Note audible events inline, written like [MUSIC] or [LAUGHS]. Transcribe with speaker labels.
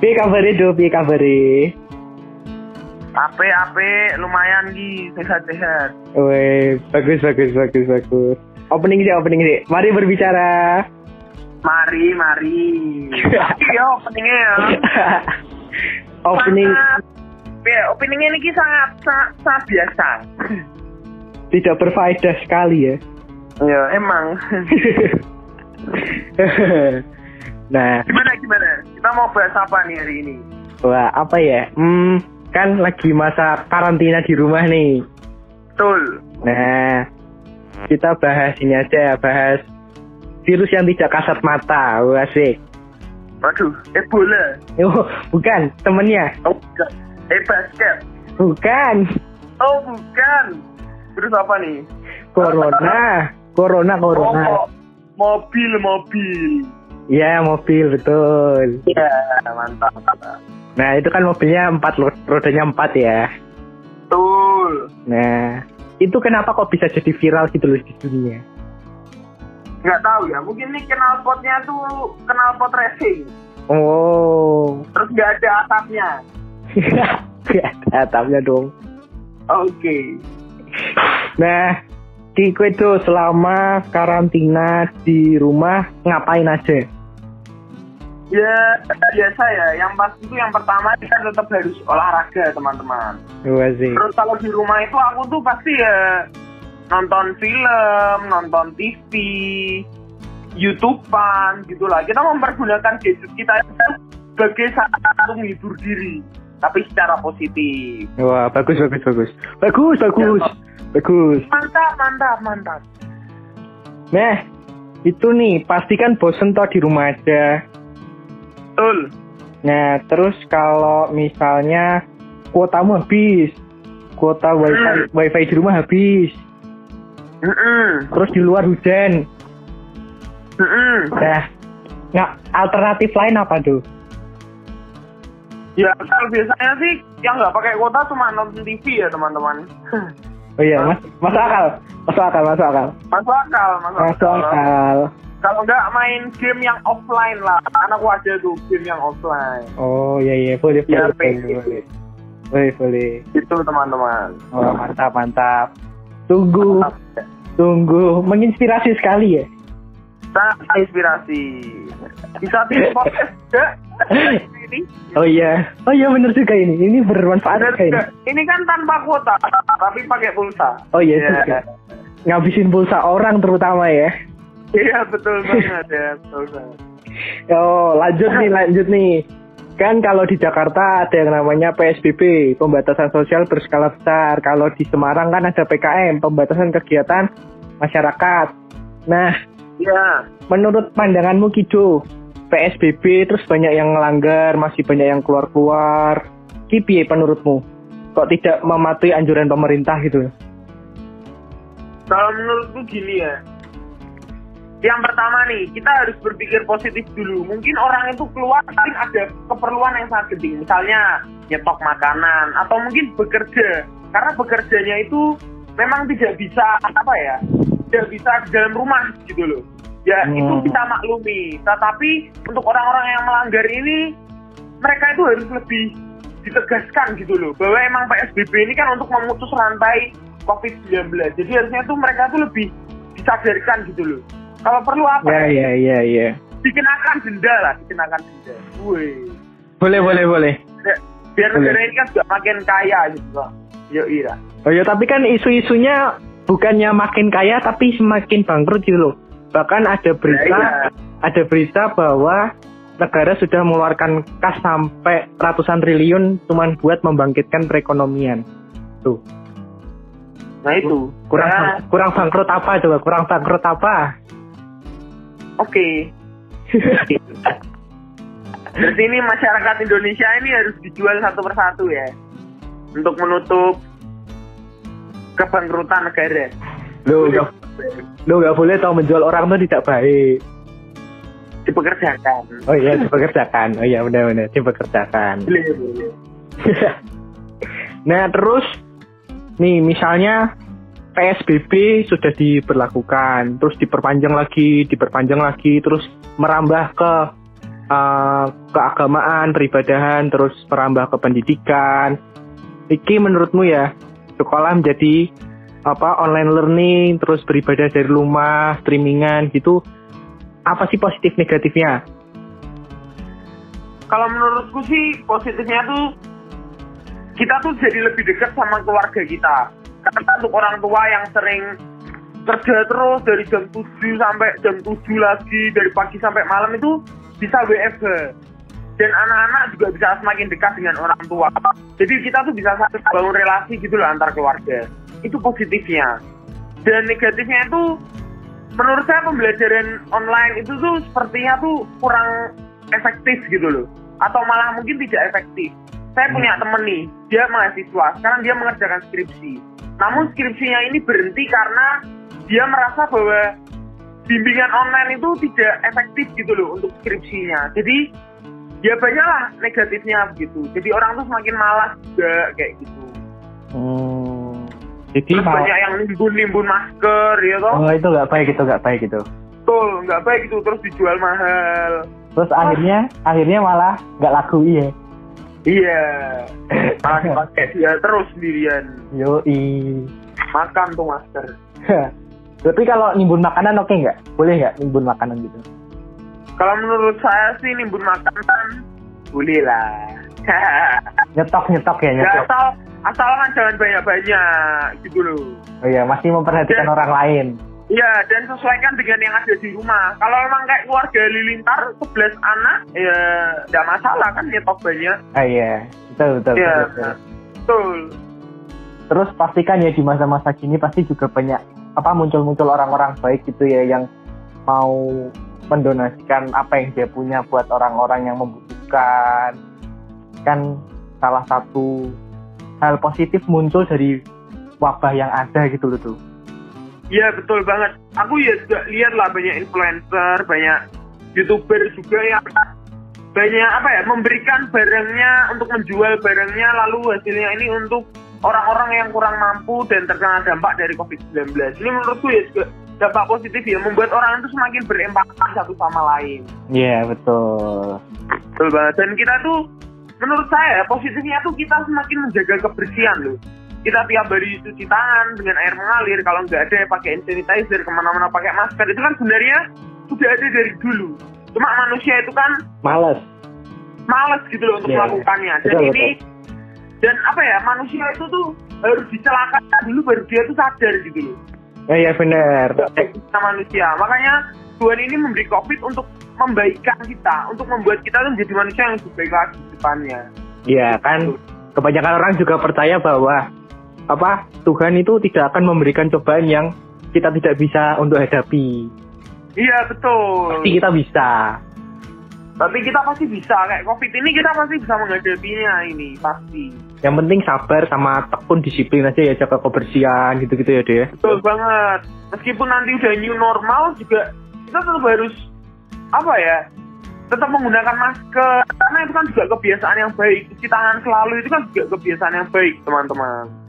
Speaker 1: Piye kabare do? Piye kabare?
Speaker 2: Ape ape lumayan ki sehat-sehat.
Speaker 1: Woi, bagus bagus bagus bagus. Opening sih, opening sih. Mari berbicara.
Speaker 2: Mari mari. Iya openingnya ya.
Speaker 1: [LAUGHS] opening
Speaker 2: Sangat- Ya, openingnya ini sangat sa, sa- biasa.
Speaker 1: tidak berfaedah sekali ya. [LAUGHS]
Speaker 2: Ya emang.
Speaker 1: nah,
Speaker 2: [LAUGHS] gimana gimana? Kita mau bahas apa nih hari ini?
Speaker 1: wah apa ya? Hmm, kan lagi masa karantina di rumah nih.
Speaker 2: Betul.
Speaker 1: Nah, kita bahas ini aja, bahas virus yang tidak kasat mata. Wah, asik.
Speaker 2: Waduh, Ebola.
Speaker 1: Oh, bukan temennya.
Speaker 2: Oh, bukan. Eh basket.
Speaker 1: Bukan.
Speaker 2: Oh, bukan. Terus apa nih?
Speaker 1: Corona. Corona, corona.
Speaker 2: Oh, mobil mobil.
Speaker 1: Ya, mobil betul.
Speaker 2: Iya, mantap. mantap.
Speaker 1: Nah, itu kan mobilnya empat, lo- rodanya empat ya.
Speaker 2: Betul.
Speaker 1: Nah, itu kenapa kok bisa jadi viral gitu loh di dunia?
Speaker 2: Nggak tahu ya, mungkin ini knalpotnya tuh knalpot racing.
Speaker 1: Oh, [LAUGHS]
Speaker 2: Terus nggak ada atapnya.
Speaker 1: Gak ada atapnya dong.
Speaker 2: Oke.
Speaker 1: Nah, di kue tuh selama karantina di rumah ngapain aja?
Speaker 2: Ya, biasa ya. Yang pasti itu yang pertama kita tetap harus olahraga, teman-teman.
Speaker 1: Dua sih.
Speaker 2: Terus kalau di rumah itu aku tuh pasti ya nonton film, nonton TV, YouTubean gitu lah. Kita mempergunakan gadget kita itu sebagai satu menghibur diri, tapi secara positif.
Speaker 1: Wah, bagus, bagus, bagus. Bagus,
Speaker 2: Ya,
Speaker 1: bagus. Bagus.
Speaker 2: Mantap, mantap, mantap.
Speaker 1: Nah, itu nih, pastikan bosen toh di rumah aja.
Speaker 2: Betul.
Speaker 1: Nah, terus kalau misalnya kuotamu habis, kuota wifi, wifi di rumah habis,
Speaker 2: Mm-mm.
Speaker 1: terus di luar hujan.
Speaker 2: Mm-mm.
Speaker 1: Nah, nah alternatif lain apa tuh?
Speaker 2: Ya, kalau biasanya sih yang nggak pakai kuota cuma nonton TV ya, teman-teman. [LAUGHS]
Speaker 1: Oh iya, mas, masuk akal, masuk akal, masuk akal,
Speaker 2: Masuk akal, masuk
Speaker 1: masuk akal.
Speaker 2: Kalau nggak main game yang offline lah. Anakku ada tuh game yang offline.
Speaker 1: Oh iya iya, boleh boleh
Speaker 2: Ya,
Speaker 1: boleh,
Speaker 2: pengen.
Speaker 1: boleh boleh boleh.
Speaker 2: Itu Gitu, teman-teman.
Speaker 1: Wah mantap mantap. Tunggu
Speaker 2: Mantap.
Speaker 1: tunggu, menginspirasi sekali ya.
Speaker 2: Sangat inspirasi. Bisa tim podcast
Speaker 1: [LAUGHS]
Speaker 2: juga. Ini
Speaker 1: Oh iya, oh iya bener juga ini, ini bermanfaat
Speaker 2: ada
Speaker 1: juga ini.
Speaker 2: juga. Ini kan tanpa kuota, tapi pakai pulsa.
Speaker 1: Oh iya
Speaker 2: Ya.
Speaker 1: juga. Ngabisin pulsa orang terutama ya.
Speaker 2: Iya [LAUGHS] betul banget ya, betul banget.
Speaker 1: Oh lanjut nih lanjut nih. Kan kalau di Jakarta ada yang namanya PSBB, pembatasan sosial berskala besar. Kalau di Semarang kan ada PKM, pembatasan kegiatan masyarakat. Nah,
Speaker 2: Iya.
Speaker 1: menurut pandanganmu Kido, PSBB terus banyak yang ngelanggar, masih banyak yang keluar-keluar. Kipi menurutmu? Kok tidak mematuhi anjuran pemerintah gitu? loh?
Speaker 2: Kalau menurutku gini ya. Yang pertama nih, kita harus berpikir positif dulu. Mungkin orang itu keluar paling ada keperluan yang sangat penting. Misalnya nyetok makanan atau mungkin bekerja. Karena bekerjanya itu memang tidak bisa apa ya? Tidak bisa di dalam rumah gitu loh. Ya
Speaker 1: Hmm.
Speaker 2: itu kita maklumi. Tetapi untuk orang-orang yang melanggar ini mereka itu harus lebih ditegaskan gitu loh bahwa emang PSBB ini kan untuk memutus rantai COVID-19 jadi harusnya tuh mereka tuh lebih disadarkan gitu loh kalau perlu apa
Speaker 1: Ya,
Speaker 2: ya?
Speaker 1: ya, ya, ya.
Speaker 2: dikenakan denda lah dikenakan denda Woi.
Speaker 1: Boleh, boleh, boleh.
Speaker 2: biar
Speaker 1: Boleh.
Speaker 2: negara ini kan juga makin kaya gitu loh yo iya
Speaker 1: Oh ya, tapi kan isu-isunya bukannya makin kaya tapi semakin bangkrut gitu loh. Bahkan ada berita,
Speaker 2: Ya, iya.
Speaker 1: ada berita bahwa negara sudah mengeluarkan kas sampai ratusan triliun cuman buat membangkitkan perekonomian. Tuh,
Speaker 2: nah itu
Speaker 1: kurang
Speaker 2: Nah,
Speaker 1: bang- kurang bangkrut apa coba? Kurang bangkrut
Speaker 2: [LAUGHS]
Speaker 1: apa?
Speaker 2: oke Berarti ini masyarakat Indonesia ini harus dijual satu persatu ya untuk menutup kebangkrutan negara.
Speaker 1: Lo gak, lo gak boleh tau menjual orang tuh tidak baik.
Speaker 2: Dipekerjakan.
Speaker 1: Oh iya, dipekerjakan. Oh iya, benar-benar dipekerjakan.
Speaker 2: Boleh, boleh.
Speaker 1: [LAUGHS] nah terus nih misalnya PSBB sudah diberlakukan, terus diperpanjang lagi, diperpanjang lagi, terus merambah ke eh, keagamaan, peribadahan, terus merambah ke pendidikan. Iki menurutmu ya sekolah menjadi apa online learning, terus beribadah dari rumah, streamingan gitu. Apa sih positif negatifnya?
Speaker 2: Kalau menurutku sih positifnya tuh kita tuh jadi lebih dekat sama keluarga kita. Karena untuk orang tua yang sering kerja terus dari jam 7 sampai jam 7 lagi, dari pagi sampai malam itu bisa WFH. Dan anak-anak juga bisa semakin dekat dengan orang tua. Jadi kita tuh bisa saling bangun relasi gitu loh antar keluarga. Itu positifnya. Dan negatifnya itu menurut saya pembelajaran online itu tuh sepertinya tuh kurang efektif gitu loh atau malah mungkin tidak efektif saya punya temen nih dia mahasiswa sekarang dia mengerjakan skripsi namun skripsinya ini berhenti karena dia merasa bahwa bimbingan online itu tidak efektif gitu loh untuk skripsinya jadi ya banyaklah negatifnya begitu jadi orang tuh semakin malas juga kayak gitu
Speaker 1: Hmm. Jadi
Speaker 2: Terus banyak yang nimbun-nimbun masker ya toh
Speaker 1: Oh, itu nggak baik itu nggak baik itu.
Speaker 2: betul nggak baik itu terus dijual mahal
Speaker 1: Terus akhirnya akhirnya malah nggak laku iya.
Speaker 2: Iya, malah dipakai dia terus sendirian.
Speaker 1: [LAUGHS] Yoi. [LAUGHS]
Speaker 2: Makan tuh masker.
Speaker 1: Tapi kalau nimbun makanan oke nggak? Boleh nggak nimbun makanan gitu?
Speaker 2: Kalau menurut saya sih nimbun makanan, kan boleh lah.
Speaker 1: Nyetok nyetok ya
Speaker 2: ya
Speaker 1: nyetok.
Speaker 2: asal asal kan jangan banyak-banyak gitu loh.
Speaker 1: Oh iya masih memperhatikan
Speaker 2: Ya.
Speaker 1: orang lain.
Speaker 2: Iya, dan sesuaikan dengan yang ada di rumah. Kalau emang kayak keluarga lilintar 11 anak, ya nggak masalah kan nyetok banyak.
Speaker 1: Ah iya betul betul.
Speaker 2: Iya,
Speaker 1: betul, betul.
Speaker 2: betul.
Speaker 1: Terus pastikan ya di masa-masa kini pasti juga banyak apa muncul-muncul orang-orang baik gitu ya yang mau mendonasikan apa yang dia punya buat orang-orang yang membutuhkan. Kan salah satu hal positif muncul dari wabah yang ada gitu loh tuh.
Speaker 2: Iya betul banget. Aku ya juga lihat lah banyak influencer, banyak youtuber juga yang banyak apa ya memberikan barangnya untuk menjual barangnya lalu hasilnya ini untuk orang-orang yang kurang mampu dan terkena dampak dari COVID-19. Ini menurutku ya juga dampak positif ya membuat orang itu semakin berempati satu sama lain.
Speaker 1: Iya betul.
Speaker 2: Betul banget. Dan kita tuh, menurut saya positifnya tuh kita semakin menjaga kebersihan loh. Kita tiap hari cuci tangan dengan air mengalir, kalau nggak ada ya pakai hand sanitizer, kemana-mana pakai masker. Itu kan sebenarnya sudah ada dari dulu. Cuma manusia itu kan
Speaker 1: Males.
Speaker 2: males gitu loh untuk
Speaker 1: Iya, iya.
Speaker 2: melakukannya. Dan
Speaker 1: Betul,
Speaker 2: ini, dan apa ya, manusia itu tuh harus dicelakakan dulu baru dia tuh sadar gitu loh.
Speaker 1: Ya ya benar.
Speaker 2: Kita manusia. Makanya Tuhan ini memberi COVID untuk membaikan kita, untuk membuat kita tuh menjadi manusia yang lebih baik lagi ke depannya.
Speaker 1: Iya kan kebanyakan orang juga percaya bahwa apa Tuhan itu tidak akan memberikan cobaan yang kita tidak bisa untuk hadapi.
Speaker 2: Iya betul.
Speaker 1: Tapi kita bisa.
Speaker 2: Tapi kita pasti bisa kayak COVID ini kita pasti bisa menghadapinya ini pasti.
Speaker 1: Yang penting sabar sama tekun disiplin aja ya jaga kebersihan gitu-gitu ya deh.
Speaker 2: Betul banget. Meskipun nanti udah new normal juga kita tetap harus apa ya? Tetap menggunakan masker karena itu kan juga kebiasaan yang baik. Cuci tangan selalu itu kan juga kebiasaan yang baik teman-teman.